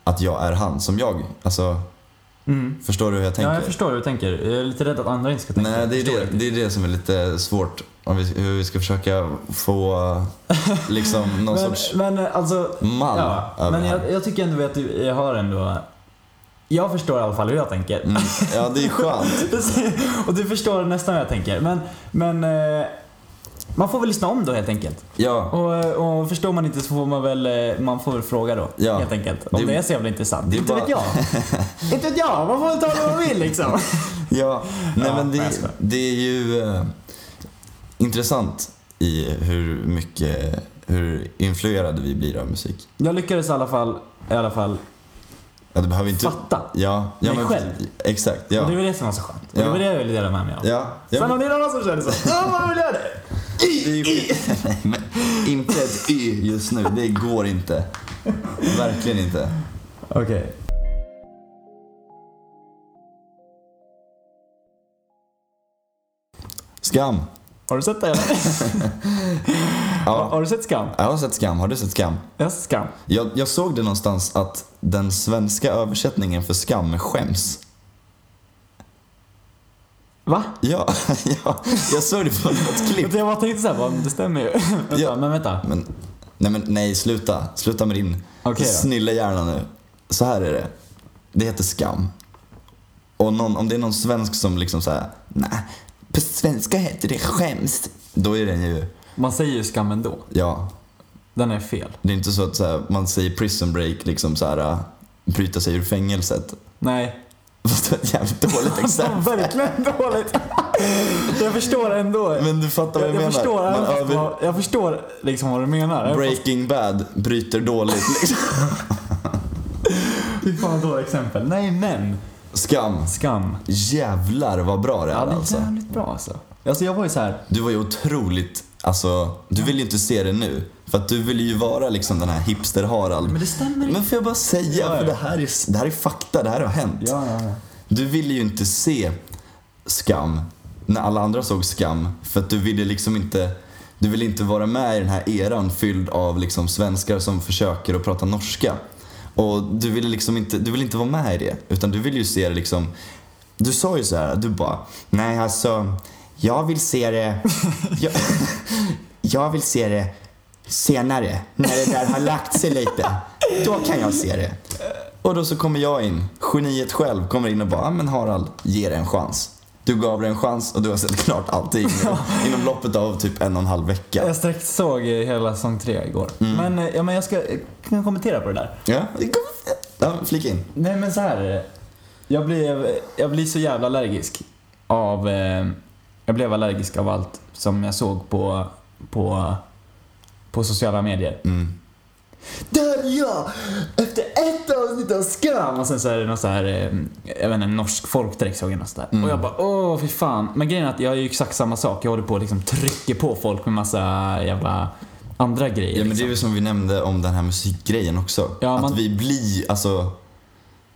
Speaker 2: att jag är han som jag. Alltså,
Speaker 3: Mm.
Speaker 2: förstår du hur jag tänker?
Speaker 3: Ja, jag förstår hur du tänker. Jag är lite rädd att andra inte ska tänka.
Speaker 2: Nej, det är
Speaker 3: Jag förstår
Speaker 2: det, det är det som är lite svårt. Om vi, hur vi ska försöka få liksom någon sorts
Speaker 3: Men, men alltså...
Speaker 2: mall
Speaker 3: Ja,
Speaker 2: över
Speaker 3: men
Speaker 2: det här.
Speaker 3: jag, jag tycker ändå att du jag har ändå... Jag förstår i alla fall hur jag tänker.
Speaker 2: Mm, ja, det är skönt.
Speaker 3: och du förstår nästan hur jag tänker. Men, men... eh, Man får väl lyssna om då helt enkelt.
Speaker 2: Ja,
Speaker 3: Och, och förstår man inte så får man väl, eh, man får väl fråga då.
Speaker 2: Ja.
Speaker 3: Helt enkelt. Om det,
Speaker 2: Det-
Speaker 3: är så jävla intressant.
Speaker 2: det är
Speaker 3: Inte
Speaker 2: bara-
Speaker 3: vet jag. inte vet jag. Man får väl ta det man vill liksom.
Speaker 2: ja. Nej,
Speaker 3: Ja,
Speaker 2: men
Speaker 3: nej, jag
Speaker 2: det,
Speaker 3: skojar.
Speaker 2: det är ju eh, intressant i hur mycket, hur influerade vi blir av musik.
Speaker 3: Jag lyckades i alla fall, i alla fall.
Speaker 2: Ja, det behöver inte...
Speaker 3: Fatta
Speaker 2: Ja, ja
Speaker 3: mig själv.
Speaker 2: Exakt,
Speaker 3: Och
Speaker 2: ja.
Speaker 3: det var det som var så skönt. Och det
Speaker 2: Ja.
Speaker 3: var det jag ville dela med mig av.
Speaker 2: Ja, ja,
Speaker 3: Sen
Speaker 2: men-
Speaker 3: om det är någon annan som känner så, ja man vill göra det.
Speaker 2: Det är ju skit. Nej, men inte ett y just nu. Det går inte. Verkligen inte.
Speaker 3: Okej.
Speaker 2: Skam.
Speaker 3: Har du sett det eller? har, har du sett Skam?
Speaker 2: Jag har sett Skam. Har du sett Skam?
Speaker 3: Jag har sett Skam.
Speaker 2: Jag, jag såg det någonstans att den svenska översättningen för skam är skäms.
Speaker 3: Va?
Speaker 2: Ja, ja jag såg det på något klipp.
Speaker 3: Jag bara tänkte såhär, bara, det stämmer ju. vänta,
Speaker 2: Ja.
Speaker 3: Men vänta.
Speaker 2: Men, nej, men nej, sluta. Sluta med din
Speaker 3: Okej då.
Speaker 2: snille hjärna nu. Så här är det. Det heter skam. Och någon, om det är någon svensk som liksom såhär, nej, på svenska heter det skäms. Då är den ju,
Speaker 3: Man säger ju Skam ändå.
Speaker 2: ja.
Speaker 3: Den är fel.
Speaker 2: Det är inte så att så här, man säger prison break, liksom så här, äh, bryta sig ur fängelset.
Speaker 3: Nej.
Speaker 2: Fast det var ett jävligt dåligt exempel.
Speaker 3: Verkligen dåligt. Jag förstår ändå.
Speaker 2: Men du fattar vad jag,
Speaker 3: jag,
Speaker 2: menar.
Speaker 3: förstår,
Speaker 2: Man
Speaker 3: även fast
Speaker 2: över-
Speaker 3: vad- jag förstår liksom vad du menar. Även fast-
Speaker 2: Breaking Bad bryter dåligt liksom.
Speaker 3: Fy fan vad dåligt exempel. Nej men.
Speaker 2: Skam.
Speaker 3: Skam.
Speaker 2: Jävlar vad bra det är
Speaker 3: Ja, det är
Speaker 2: alltså.
Speaker 3: jävligt bra alltså. Alltså jag var ju så här.
Speaker 2: Du var ju otroligt, alltså, du vill ju inte se det nu. För att du vill ju vara liksom den här hipster-Harald. Men
Speaker 3: det stämmer
Speaker 2: Men får jag bara säga,
Speaker 3: Ja, ja.
Speaker 2: för det här, är, det här är fakta, det här har hänt.
Speaker 3: Ja, ja, ja.
Speaker 2: Du ville ju inte se skam när alla andra såg skam. För att du ville liksom inte, du ville inte vara med i den här eran fylld av liksom svenskar som försöker att prata norska. Och du ville liksom inte, du ville inte vara med i det. Utan du ville ju se det liksom, du sa ju så här, du bara, nej alltså, jag vill se det, jag, jag vill se det senare, när det där har lagt sig lite. Då kan jag se det. Och då så kommer jag in, geniet själv kommer in och bara, "Ah, men Harald, ge det en chans. Du gav det en chans och du har sett klart allting nu, inom loppet av typ en och en halv vecka.
Speaker 3: Jag strax såg eh, hela säsong tre igår. Men, eh, ja, men jag ska eh, kan jag kommentera på det där.
Speaker 2: Ja, ja flika in.
Speaker 3: Nej men så här är det. Jag blev, jag blir så jävla allergisk av... Eh, jag blev allergisk av allt som jag såg på, på, på sociala medier.
Speaker 2: Mm.
Speaker 3: Där är jag! Efter ett avsnitt av Skam! Och sen så är det någon så här, eh, jag vet inte, en norsk folkdräkt såg jag någonstans där.
Speaker 2: Mm.
Speaker 3: Och jag bara, åh fy fan. Men grejen är att jag gör ju exakt samma sak. Jag håller på och liksom trycker på folk med massa jävla andra grejer.
Speaker 2: Ja men det
Speaker 3: liksom.
Speaker 2: är ju som vi nämnde om den här musikgrejen också.
Speaker 3: Ja, man-
Speaker 2: Att vi blir, alltså,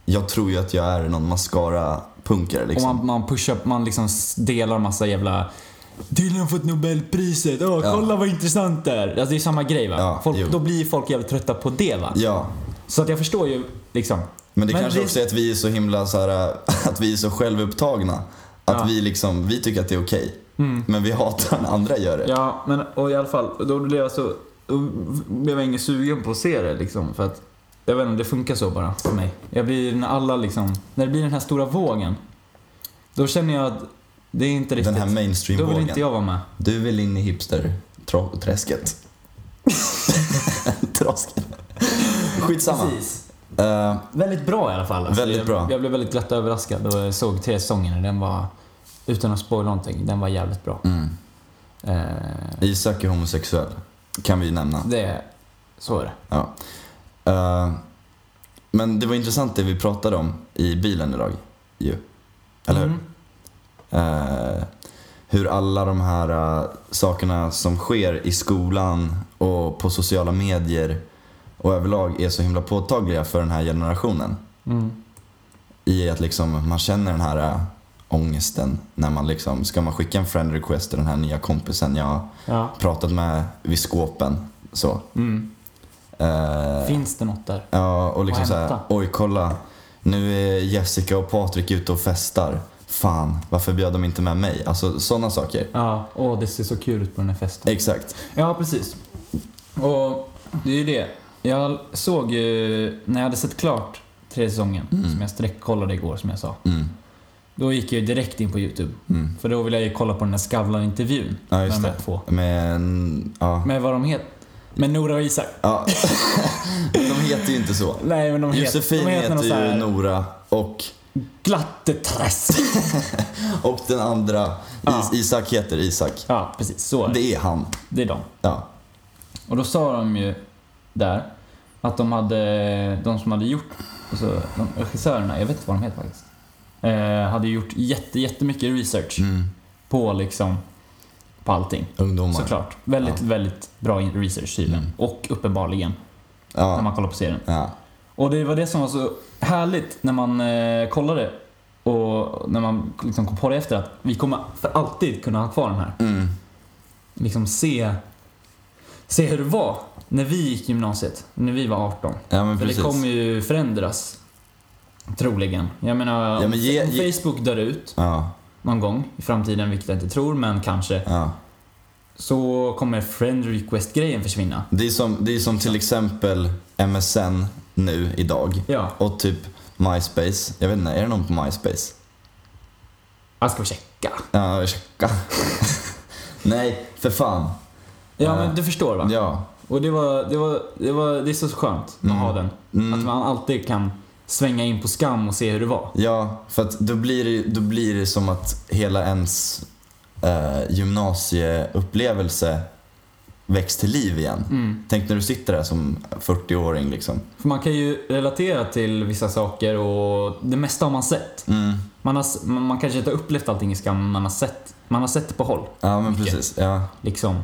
Speaker 2: jag tror ju att jag är någon mascara-punkare liksom.
Speaker 3: Och man, man pushar, man liksom s- delar massa jävla Dylan har fått Nobelpriset, åh
Speaker 2: Ja.
Speaker 3: kolla vad intressant det är. Alltså det är samma grej va?
Speaker 2: Ja, jo.
Speaker 3: folk, då blir folk jävligt trötta på det va?
Speaker 2: Ja,
Speaker 3: Så att jag förstår ju liksom.
Speaker 2: men det kanske också är att vi är så himla så här, att vi är så självupptagna. Att
Speaker 3: Ja. Mm.
Speaker 2: vi liksom, vi tycker att det är okej. Men vi hatar när andra gör det.
Speaker 3: Ja, men och i alla fall, då blev jag så, då blev jag ingen sugen på att se det liksom. För att, jag vet inte, det funkar så bara för mig. Jag blir, när alla liksom, när det blir den här stora vågen. Då känner jag att det är inte
Speaker 2: Den
Speaker 3: riktigt,
Speaker 2: här
Speaker 3: då vill
Speaker 2: mainstream-vågen.
Speaker 3: inte jag vara med.
Speaker 2: Du vill in i hipster-träsket. Trasket. Skitsamma. Eh,
Speaker 3: Väldigt bra i alla fall. Alltså,
Speaker 2: Väldigt
Speaker 3: jag,
Speaker 2: bra.
Speaker 3: jag blev väldigt glatt överraskad och jag såg tre säsongerna. Den var, utan att spoila någonting, den var jävligt bra.
Speaker 2: Mm.
Speaker 3: Eh,
Speaker 2: Isak är homosexuell, kan vi ju nämna.
Speaker 3: det, så är det.
Speaker 2: Ja. Eh, men det var intressant det vi pratade om i bilen idag. Ju. Eller
Speaker 3: Mm.
Speaker 2: hur? Eh, hur alla de här eh, sakerna som sker i skolan och på sociala medier och överlag är så himla påtagliga för den här generationen. I att liksom man känner den här eh, ångesten när man liksom, ska man skicka en friend request till den här nya kompisen jag har
Speaker 3: Ja.
Speaker 2: pratat med vid skåpen. Så. Eh,
Speaker 3: Finns det något där?
Speaker 2: Ja, och liksom
Speaker 3: Och
Speaker 2: såhär,
Speaker 3: hämta.
Speaker 2: oj kolla. Nu är Jessica och Patrik ute och festar. Fan, varför bjöd de inte med mig? Alltså sådana saker.
Speaker 3: Ja, åh det ser så kul ut på den här festen.
Speaker 2: Exakt.
Speaker 3: Ja, precis. Och det är ju det. Jag såg ju, när jag hade sett klart tre säsongen, som jag streckkollade igår som jag sa.
Speaker 2: Mm.
Speaker 3: Då gick jag ju direkt in på YouTube. För då ville jag ju kolla på den där Skavlan-intervjun
Speaker 2: Ja,
Speaker 3: med
Speaker 2: just
Speaker 3: de här
Speaker 2: det.
Speaker 3: två.
Speaker 2: Men, ja.
Speaker 3: Med vad de heter. Med Nora och Isak.
Speaker 2: ja. de heter ju inte så.
Speaker 3: Nej men de heter,
Speaker 2: Josefin
Speaker 3: de
Speaker 2: heter
Speaker 3: något så
Speaker 2: ju
Speaker 3: här
Speaker 2: Nora och,
Speaker 3: Glatteträsk.
Speaker 2: och den andra, Is-
Speaker 3: Ja.
Speaker 2: Isak heter Isak.
Speaker 3: ja precis, så är det.
Speaker 2: Det är han.
Speaker 3: Det är de.
Speaker 2: Ja.
Speaker 3: Och då sa de ju där att de hade, de som hade gjort, alltså de regissörerna, jag vet inte vad de heter faktiskt. Eh, hade gjort jätte, jättemycket research
Speaker 2: Mm.
Speaker 3: på liksom, på allting.
Speaker 2: Ungdomar.
Speaker 3: Såklart. Väldigt, väldigt bra research tydligen. Och uppenbarligen, när
Speaker 2: Mm. Ja.
Speaker 3: man kollar på serien.
Speaker 2: ja.
Speaker 3: Och det var det som var så härligt när man eh, kollade och när man liksom kom på det efter att vi kommer för alltid kunna ha kvar den här.
Speaker 2: Mm.
Speaker 3: Liksom se, se hur det var när vi gick gymnasiet, när vi var 18.
Speaker 2: Ja men
Speaker 3: För
Speaker 2: precis.
Speaker 3: det kommer ju förändras. Troligen. Jag menar,
Speaker 2: Ja, men ge-
Speaker 3: om
Speaker 2: ge-
Speaker 3: Facebook dör ut
Speaker 2: Ja,
Speaker 3: någon gång i framtiden, vilket jag inte tror, men kanske.
Speaker 2: ja.
Speaker 3: Så kommer friend request-grejen försvinna.
Speaker 2: Det är, som, det är som till exempel MSN nu idag.
Speaker 3: Ja,
Speaker 2: Och typ MySpace. Jag vet inte, är det någon på MySpace?
Speaker 3: jag ska checka.
Speaker 2: Ja, ursäkta. Nej, för fan.
Speaker 3: Ja,
Speaker 2: Ja.
Speaker 3: men du förstår va?
Speaker 2: Ja. Mm.
Speaker 3: Och det var, det var, det var, det är så skönt att ha den. Att man alltid kan svänga in på Skam och se hur det var.
Speaker 2: Ja, för att då blir det, då blir det som att hela ens eh, gymnasieupplevelse väcks till liv igen.
Speaker 3: Mm.
Speaker 2: Tänk när du sitter där som 40-åring liksom.
Speaker 3: För man kan ju relatera till vissa saker och det mesta har man sett.
Speaker 2: Mm.
Speaker 3: Man, har, s- man man kanske inte har upplevt allting i Skam, men man har sett, man har sett det på håll.
Speaker 2: Ja, men precis. Ja,
Speaker 3: Liksom.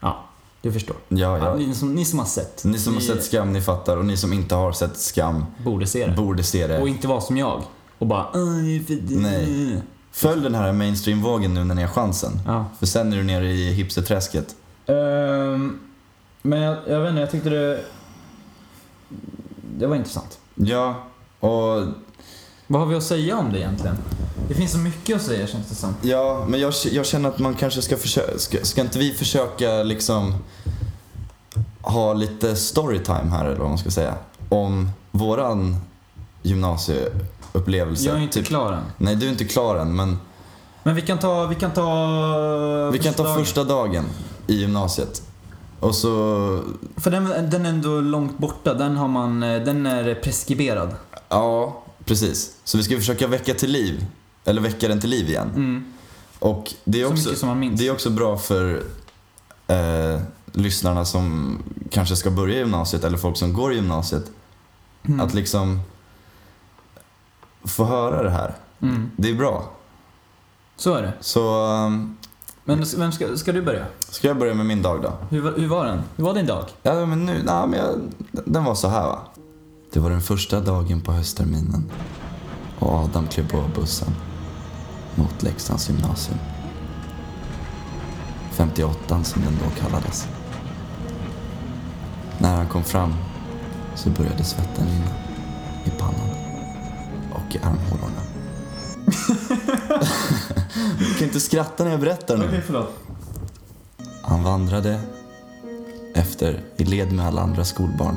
Speaker 3: Ja, du förstår.
Speaker 2: ja,
Speaker 3: Ja,
Speaker 2: ja.
Speaker 3: ni, som, ni som har sett.
Speaker 2: Ni som har sett Skam, ni fattar. Och ni som inte har sett Skam
Speaker 3: Borde se det.
Speaker 2: borde se
Speaker 3: Och
Speaker 2: det.
Speaker 3: inte vara som jag. Och bara... "Aj, för-
Speaker 2: Nej. Följ den här mainstream-vågen nu när ni har chansen.
Speaker 3: Ja.
Speaker 2: För sen är du nere i hipsterträsket.
Speaker 3: Ehm, men jag, jag vet inte, jag tyckte det... Det var intressant.
Speaker 2: Ja, och
Speaker 3: Vad har vi att säga om det egentligen? Det finns så mycket att säga känns det som.
Speaker 2: Ja, men jag, jag känner att man kanske ska försöka, ska, ska inte vi försöka liksom ha lite storytime här eller vad man ska säga? Om våran gymnasieupplevelse. Typ-
Speaker 3: Jag är inte klar än.
Speaker 2: Nej, du är inte klar än, men
Speaker 3: Men vi kan ta... Vi kan ta...
Speaker 2: vi kan ta
Speaker 3: förslag.
Speaker 2: första dagen i gymnasiet. Och så,
Speaker 3: För den, den är ändå långt borta. Den har man... eh, Den är preskriberad.
Speaker 2: ja, precis. Så vi ska försöka väcka till liv, eller väcka den till liv igen.
Speaker 3: Mm.
Speaker 2: Och det är
Speaker 3: Så
Speaker 2: också,
Speaker 3: mycket som man minns.
Speaker 2: det är också bra för eh, lyssnarna som kanske ska börja gymnasiet eller folk som går i gymnasiet. Att liksom få höra det här.
Speaker 3: Mm.
Speaker 2: Det är bra.
Speaker 3: Så är det.
Speaker 2: Så ehm,
Speaker 3: Men s- vem ska, ska du börja?
Speaker 2: ska jag börja med min dag då?
Speaker 3: Hur, var- hur var den? Hur var din dag?
Speaker 2: Ja, men nu, nej, men jag, den var så här va. Det var den första dagen på höstterminen och Adam klev på bussen mot Leksands gymnasium. 58 som den då kallades. När han kom fram så började svetten rinna i pannan och i armhålorna. Du kan inte skratta när jag berättar nu.
Speaker 3: förlåt.
Speaker 2: Han vandrade efter i led med alla andra skolbarn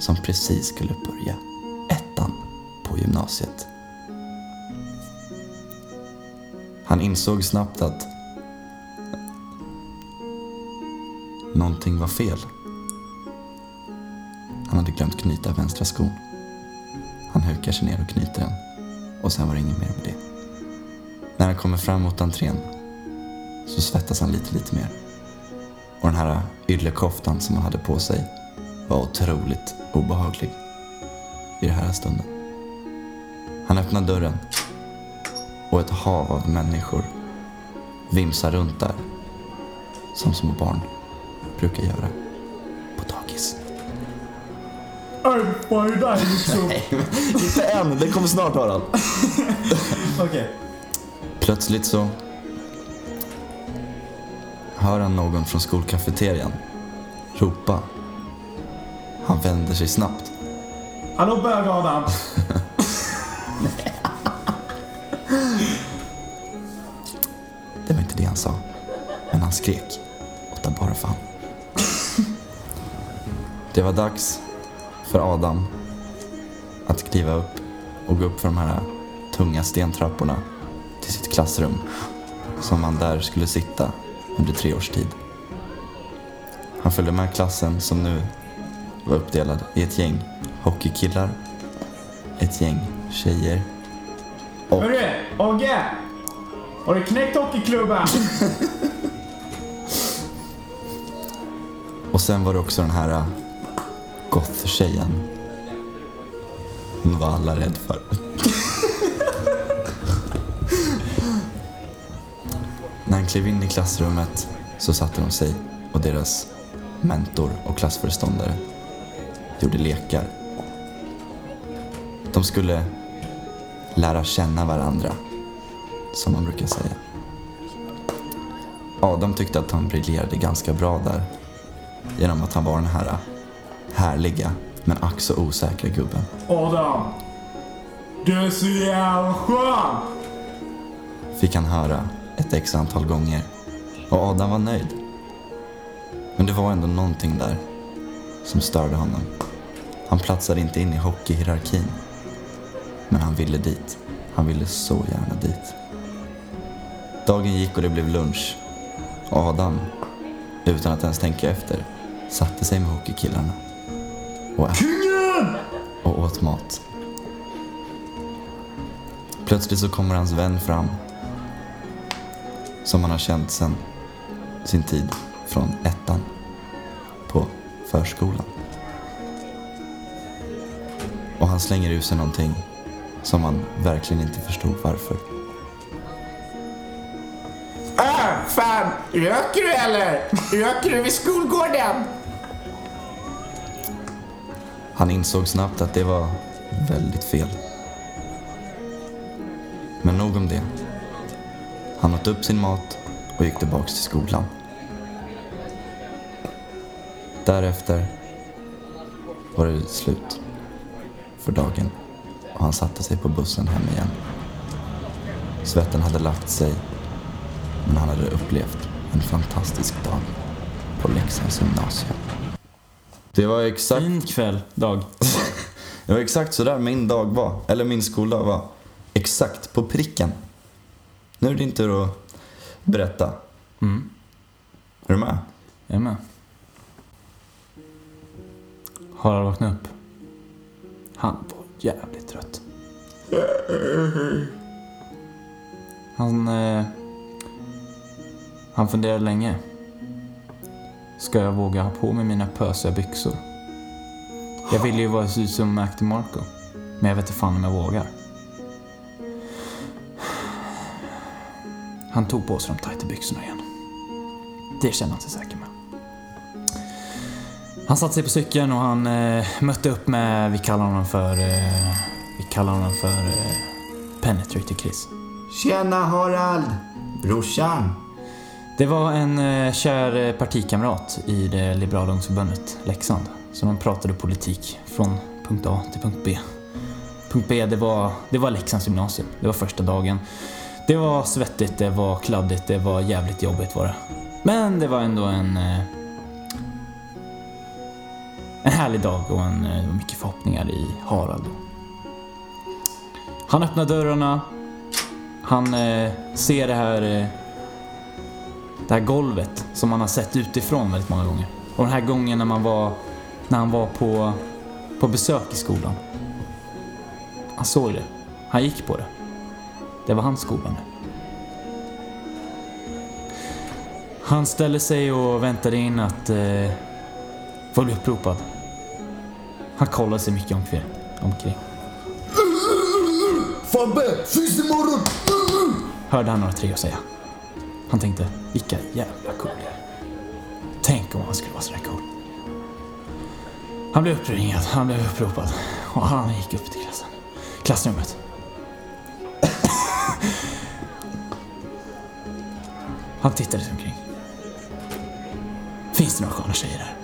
Speaker 2: som precis skulle börja ettan på gymnasiet. Han insåg snabbt att någonting var fel. Han hade glömt knyta vänstra skon. Han hukar sig ner och knyter den och sen var det inget mer med det. När han kommer fram mot entrén så svettas han lite, lite mer. Och den här yllekoftan som han hade på sig var otroligt obehaglig i den här stunden. Han öppnar dörren och ett hav av människor vimsar runt där som små barn brukar göra på dagis.
Speaker 3: Var det där liksom?
Speaker 2: Inte än, det kommer snart Harald.
Speaker 3: Okej.
Speaker 2: Plötsligt så hör han någon från skolkafeterian ropa. Han vänder sig snabbt
Speaker 3: Hallå bög-Adam!
Speaker 2: Det var inte det han sa. Men han skrek. Och ta bara fan. Det var dags för Adam att kliva upp och gå upp för de här tunga stentrapporna till sitt klassrum som han där skulle sitta under tre års tid. Han följde med klassen som nu var uppdelad i ett gäng hockeykillar, ett gäng tjejer och
Speaker 7: Hörru, Ogge! Har du knäckt hockeyklubban?
Speaker 2: Och sen var det också den här äh, goth-tjejen. Hon var alla rädd för. När han klev in i klassrummet så satte de sig och deras mentor och klassföreståndare gjorde lekar. De skulle lära känna varandra, som man brukar säga. Adam tyckte att han briljerade ganska bra där genom att han var den här härliga men ack så osäkra gubben.
Speaker 7: Adam! Du är så jävla skön!
Speaker 2: Fick han höra ett x antal gånger och Adam var nöjd. Men det var ändå någonting där som störde honom. Han platsade inte in i hockeyhierarkin. Men han ville dit. Han ville så gärna dit. Dagen gick och det blev lunch. Och Adam, utan att ens tänka efter, satte sig med hockeykillarna. Och åt, och åt mat. Plötsligt så kommer hans vän fram. Som han har känt sedan sin tid från ettan på förskolan. Och han slänger ur sig någonting som man verkligen inte förstod varför.
Speaker 7: Äh, fan! Röker du eller? Röker du vid skolgården?
Speaker 2: Han insåg snabbt att det var väldigt fel. Men nog om det. Han åt upp sin mat och gick tillbaks till skolan. Därefter var det slut för dagen och han satte sig på bussen hem igen. Svetten hade lagt sig men han hade upplevt en fantastisk dag på Leksands gymnasium. Det var exakt
Speaker 3: Fin kväll, dag.
Speaker 2: det var exakt så där min dag var, eller min skoldag var. Exakt på pricken. Nu är det din tur att berätta.
Speaker 8: Mm.
Speaker 2: Är du med?
Speaker 3: Jag är med. Harald vaknade upp. Han var jävligt trött. Han... Eh, han funderade länge. Ska jag våga ha på mig mina pösiga byxor? Jag ville ju vara så ut som Mac DeMarco. Men jag vet inte fan om jag vågar. Han tog på sig de tajta byxorna igen. Det känner han sig säker med. Han satte sig på cykeln och han eh, mötte upp med, vi kallar honom för, eh, vi kallar honom för eh, Penetrator Chris.
Speaker 7: Tjena Harald! Brorsan!
Speaker 3: Det var en eh, kär eh, partikamrat i det liberala ungdomsförbundet, Leksand. Så de pratade politik från punkt A till punkt B. Punkt B, det var, det var Leksands gymnasium. Det var första dagen. Det var svettigt, det var kladdigt, det var jävligt jobbigt var det. Men det var ändå en... eh, En härlig dag och en, eh, det var mycket förhoppningar i Harald. Han öppnar dörrarna. Han eh, ser det här eh, det här golvet som man har sett utifrån väldigt många gånger. Och den här gången när, man var, när han var på, på besök i skolan. Han såg det. Han gick på det. Det var hans skola nu. Han ställde sig och väntade in att eh, få bli uppropad. Han kollade sig mycket omkring. omkring.
Speaker 7: Fabbe! Syns imorgon!
Speaker 3: hörde han några tre säga. Han tänkte, vilka jävla coola. Tänk om han skulle vara sådär cool. Han blev uppringad, han blev uppropad och han gick upp till klassen. Klassrummet. Han tittade sig omkring. Finns det några sköna tjejer här?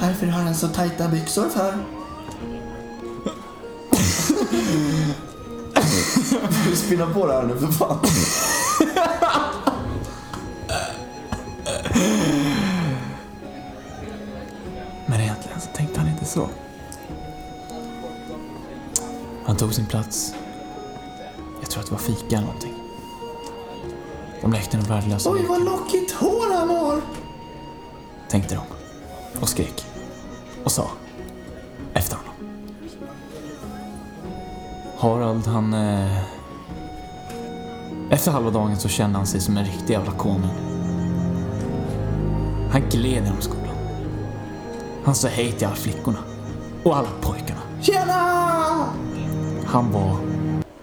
Speaker 7: Varför har han så tajta byxor för? Du spinna på det här nu för fan.
Speaker 3: Men egentligen så tänkte han inte så. Han tog sin plats. Jag tror att det var fika eller någonting. De lekte någon värdelös
Speaker 7: Oj vad lockigt hår han har!
Speaker 3: tänkte de. Och skrek. Och sa. Efter honom. Harald, han... Eh... Efter halva dagen så kände han sig som en riktig jävla konung. Han gled genom skolan. Han sa hej till alla flickorna. Och alla pojkarna.
Speaker 7: Tjena!
Speaker 3: Han var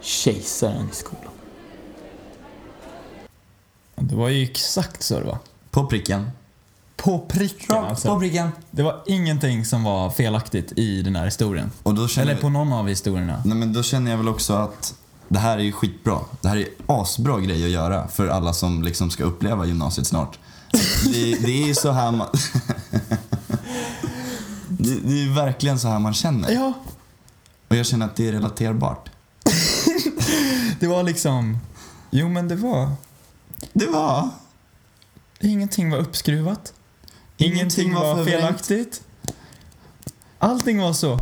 Speaker 3: kejsaren i skolan.
Speaker 8: Det var ju exakt så det var.
Speaker 2: På pricken.
Speaker 8: På pricken alltså.
Speaker 2: pricken.
Speaker 8: Det var ingenting som var felaktigt i den här historien.
Speaker 2: Och då känner,
Speaker 8: Eller på någon av historierna.
Speaker 2: nej, men då känner jag väl också att det här är ju skitbra. Det här är asbra grej att göra för alla som liksom ska uppleva gymnasiet snart. Det, det är ju så här man... det, det är ju verkligen så här man känner.
Speaker 8: Ja,
Speaker 2: Och jag känner att det är relaterbart.
Speaker 8: det var liksom... Jo men det var...
Speaker 2: Det var...
Speaker 8: Ingenting var uppskruvat.
Speaker 2: Ingenting
Speaker 8: Ingenting,
Speaker 2: var
Speaker 8: var,
Speaker 2: förvrängt.
Speaker 8: felaktigt. Allting var så.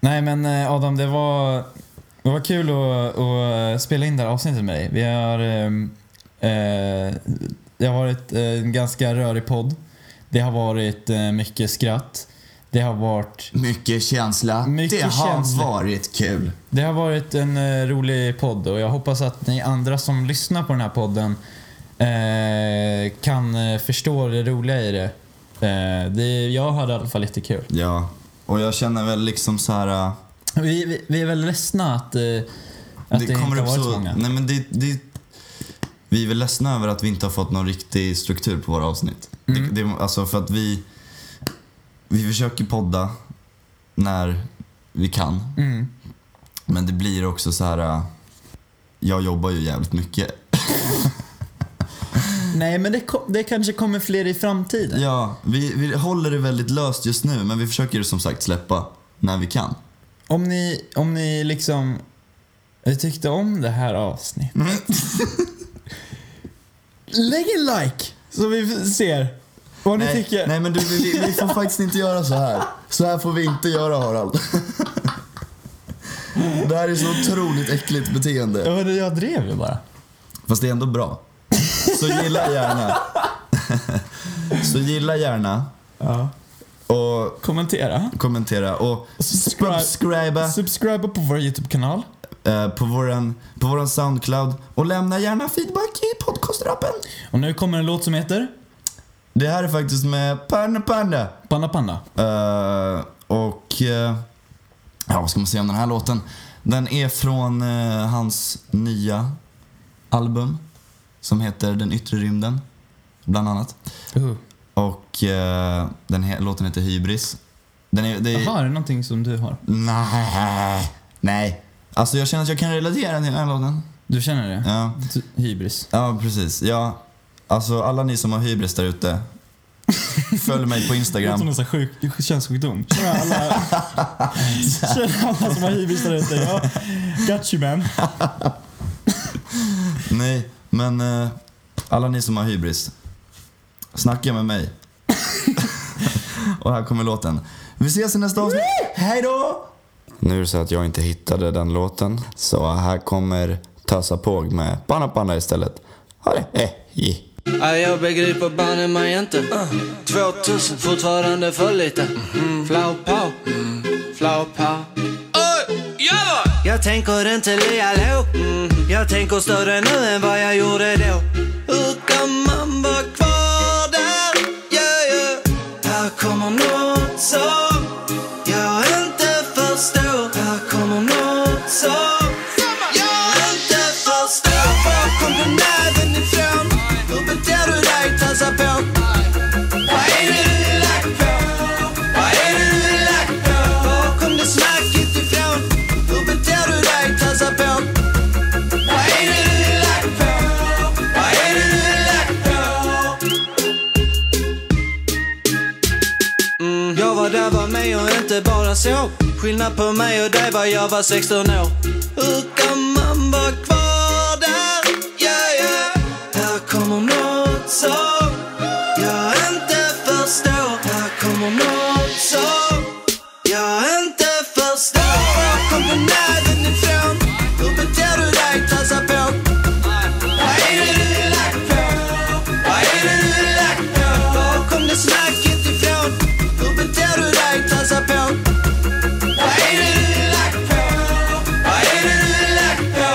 Speaker 8: Nej men eh, Adam, det var, det var kul att, att spela in det här avsnittet med dig. Vi har ehm, eh,
Speaker 3: Det har varit eh, en ganska rörig podd. Det har varit eh, mycket skratt. Det har varit,
Speaker 9: Mycket känsla.
Speaker 3: Mycket
Speaker 9: det har
Speaker 3: känsla.
Speaker 9: varit kul.
Speaker 3: det har varit en eh, rolig podd och jag hoppas att ni andra som lyssnar på den här podden eh, kan eh, förstå det roliga i det. Eh, det jag hade i alla fall jättekul.
Speaker 2: Ja. Och jag känner väl liksom så här... äh,
Speaker 3: Vi, vi, vi är väl ledsna att, eh, att det,
Speaker 2: det kommer
Speaker 3: inte
Speaker 2: upp
Speaker 3: har varit så
Speaker 2: så...
Speaker 3: många.
Speaker 2: Nej, men det, det, vi är väl ledsna över att vi inte har fått någon riktig struktur på våra avsnitt.
Speaker 3: Mm.
Speaker 2: Det, det, alltså för att vi, vi försöker podda när vi kan.
Speaker 3: Mm.
Speaker 2: Men det blir också så här... äh, Jag jobbar ju jävligt mycket.
Speaker 3: Nej, men det, ko- det kanske kommer fler i framtiden.
Speaker 2: Ja, vi, vi håller det väldigt löst just nu men vi försöker som sagt släppa när vi kan.
Speaker 3: Om ni, om ni liksom tyckte om det här avsnittet.
Speaker 2: Mm.
Speaker 3: Lägg en like så vi ser vad ni tycker.
Speaker 2: nej men du, vi, vi- vi får faktiskt inte göra så här. Så här får vi inte göra Harald. Det här är så otroligt äckligt beteende.
Speaker 3: Ja, men Jag drev ju bara.
Speaker 2: Fast det är ändå bra. Så gilla gärna. Så gilla gärna. Och
Speaker 3: Kommentera.
Speaker 2: kommentera och
Speaker 3: Subscribe.
Speaker 2: subscriba
Speaker 3: Subscriba på vår YouTube-kanal.
Speaker 2: eh, på våran, på våran Soundcloud och lämna gärna feedback i podcastrappen.
Speaker 3: Och nu kommer en låt som heter
Speaker 2: Det här är faktiskt med Panda Panda.
Speaker 3: Panda Panda.
Speaker 2: Eh, och eh, ja, vad ska man säga om den här låten? Den är från eh, hans nya album som heter Den yttre rymden, bland annat.
Speaker 3: Uh.
Speaker 2: Och eh, den he- låten heter Hybris. Den är, det är,
Speaker 3: Jaha, är det någonting som du har?
Speaker 2: Nej, nej. Alltså jag känner att jag kan relatera till den här låten.
Speaker 3: Du känner det?
Speaker 2: Ja,
Speaker 3: Du- Hybris.
Speaker 2: ja precis. Ja, alltså alla ni som har hybris där ute, följ mig på
Speaker 3: Det låter som
Speaker 2: Instagram.
Speaker 3: en sån här sjuk könssjukdom. Känner alla, känner alla som har hybris där ute. Ja, got you man.
Speaker 2: Nej, men eh, alla ni som har hybris, snacka med mig. Och här kommer låten. Vi ses i nästa avsnitt. Hej då! Nu är det så att jag inte hittade den låten, så här kommer Tassa Påg med Panna Panna istället. Ha det! Eh, yeah.
Speaker 5: Ja, jag begriper banne mig inte. 2000, fortfarande för lite. Flow pow, flow pow. Jag tänker inte le hallå. Mm. Jag tänker större nu än vad jag gjorde då. Hur kan man vara kvar där? Yeah, yeah. Här kommer nåt som jag inte förstår. Här kommer nåt som jag inte förstår. Var kom den näven ifrån? Hur beter du dig, tassa på? Vad är det du är lack på? Vad är det du är lack på? Var kom det snacket ifrån? Hur beter du dig, tassa på? Vad är det du är lack på? Vad är det du är lack på? Mm. Jag var där, var med och inte bara så. Skillnad på mig och dig var jag var 16 år. Hur kan man vara kvar där? Yeah, yeah. Här kommer nåt som jag inte förstår. Här kommer nåt som jag inte förstår. Var kom den näven ifrån? Hur beter du dig? Tassa på. Vad är det du är lack på? Vad är det du är lack på? Var kom det snacket ifrån? Hur beter du dig? Tassa på. Vad är det du är lack på? Vad är det du är lack på?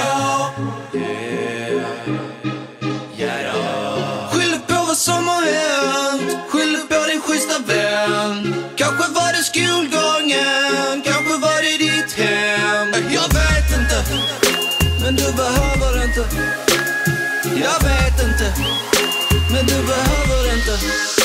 Speaker 5: Skyller på vad som har hänt Skyller på din schyssta vän Kanske var det skolgången Kanske var det ditt hem Jag vet inte Men du behöver inte jag vet inte, men du behöver inte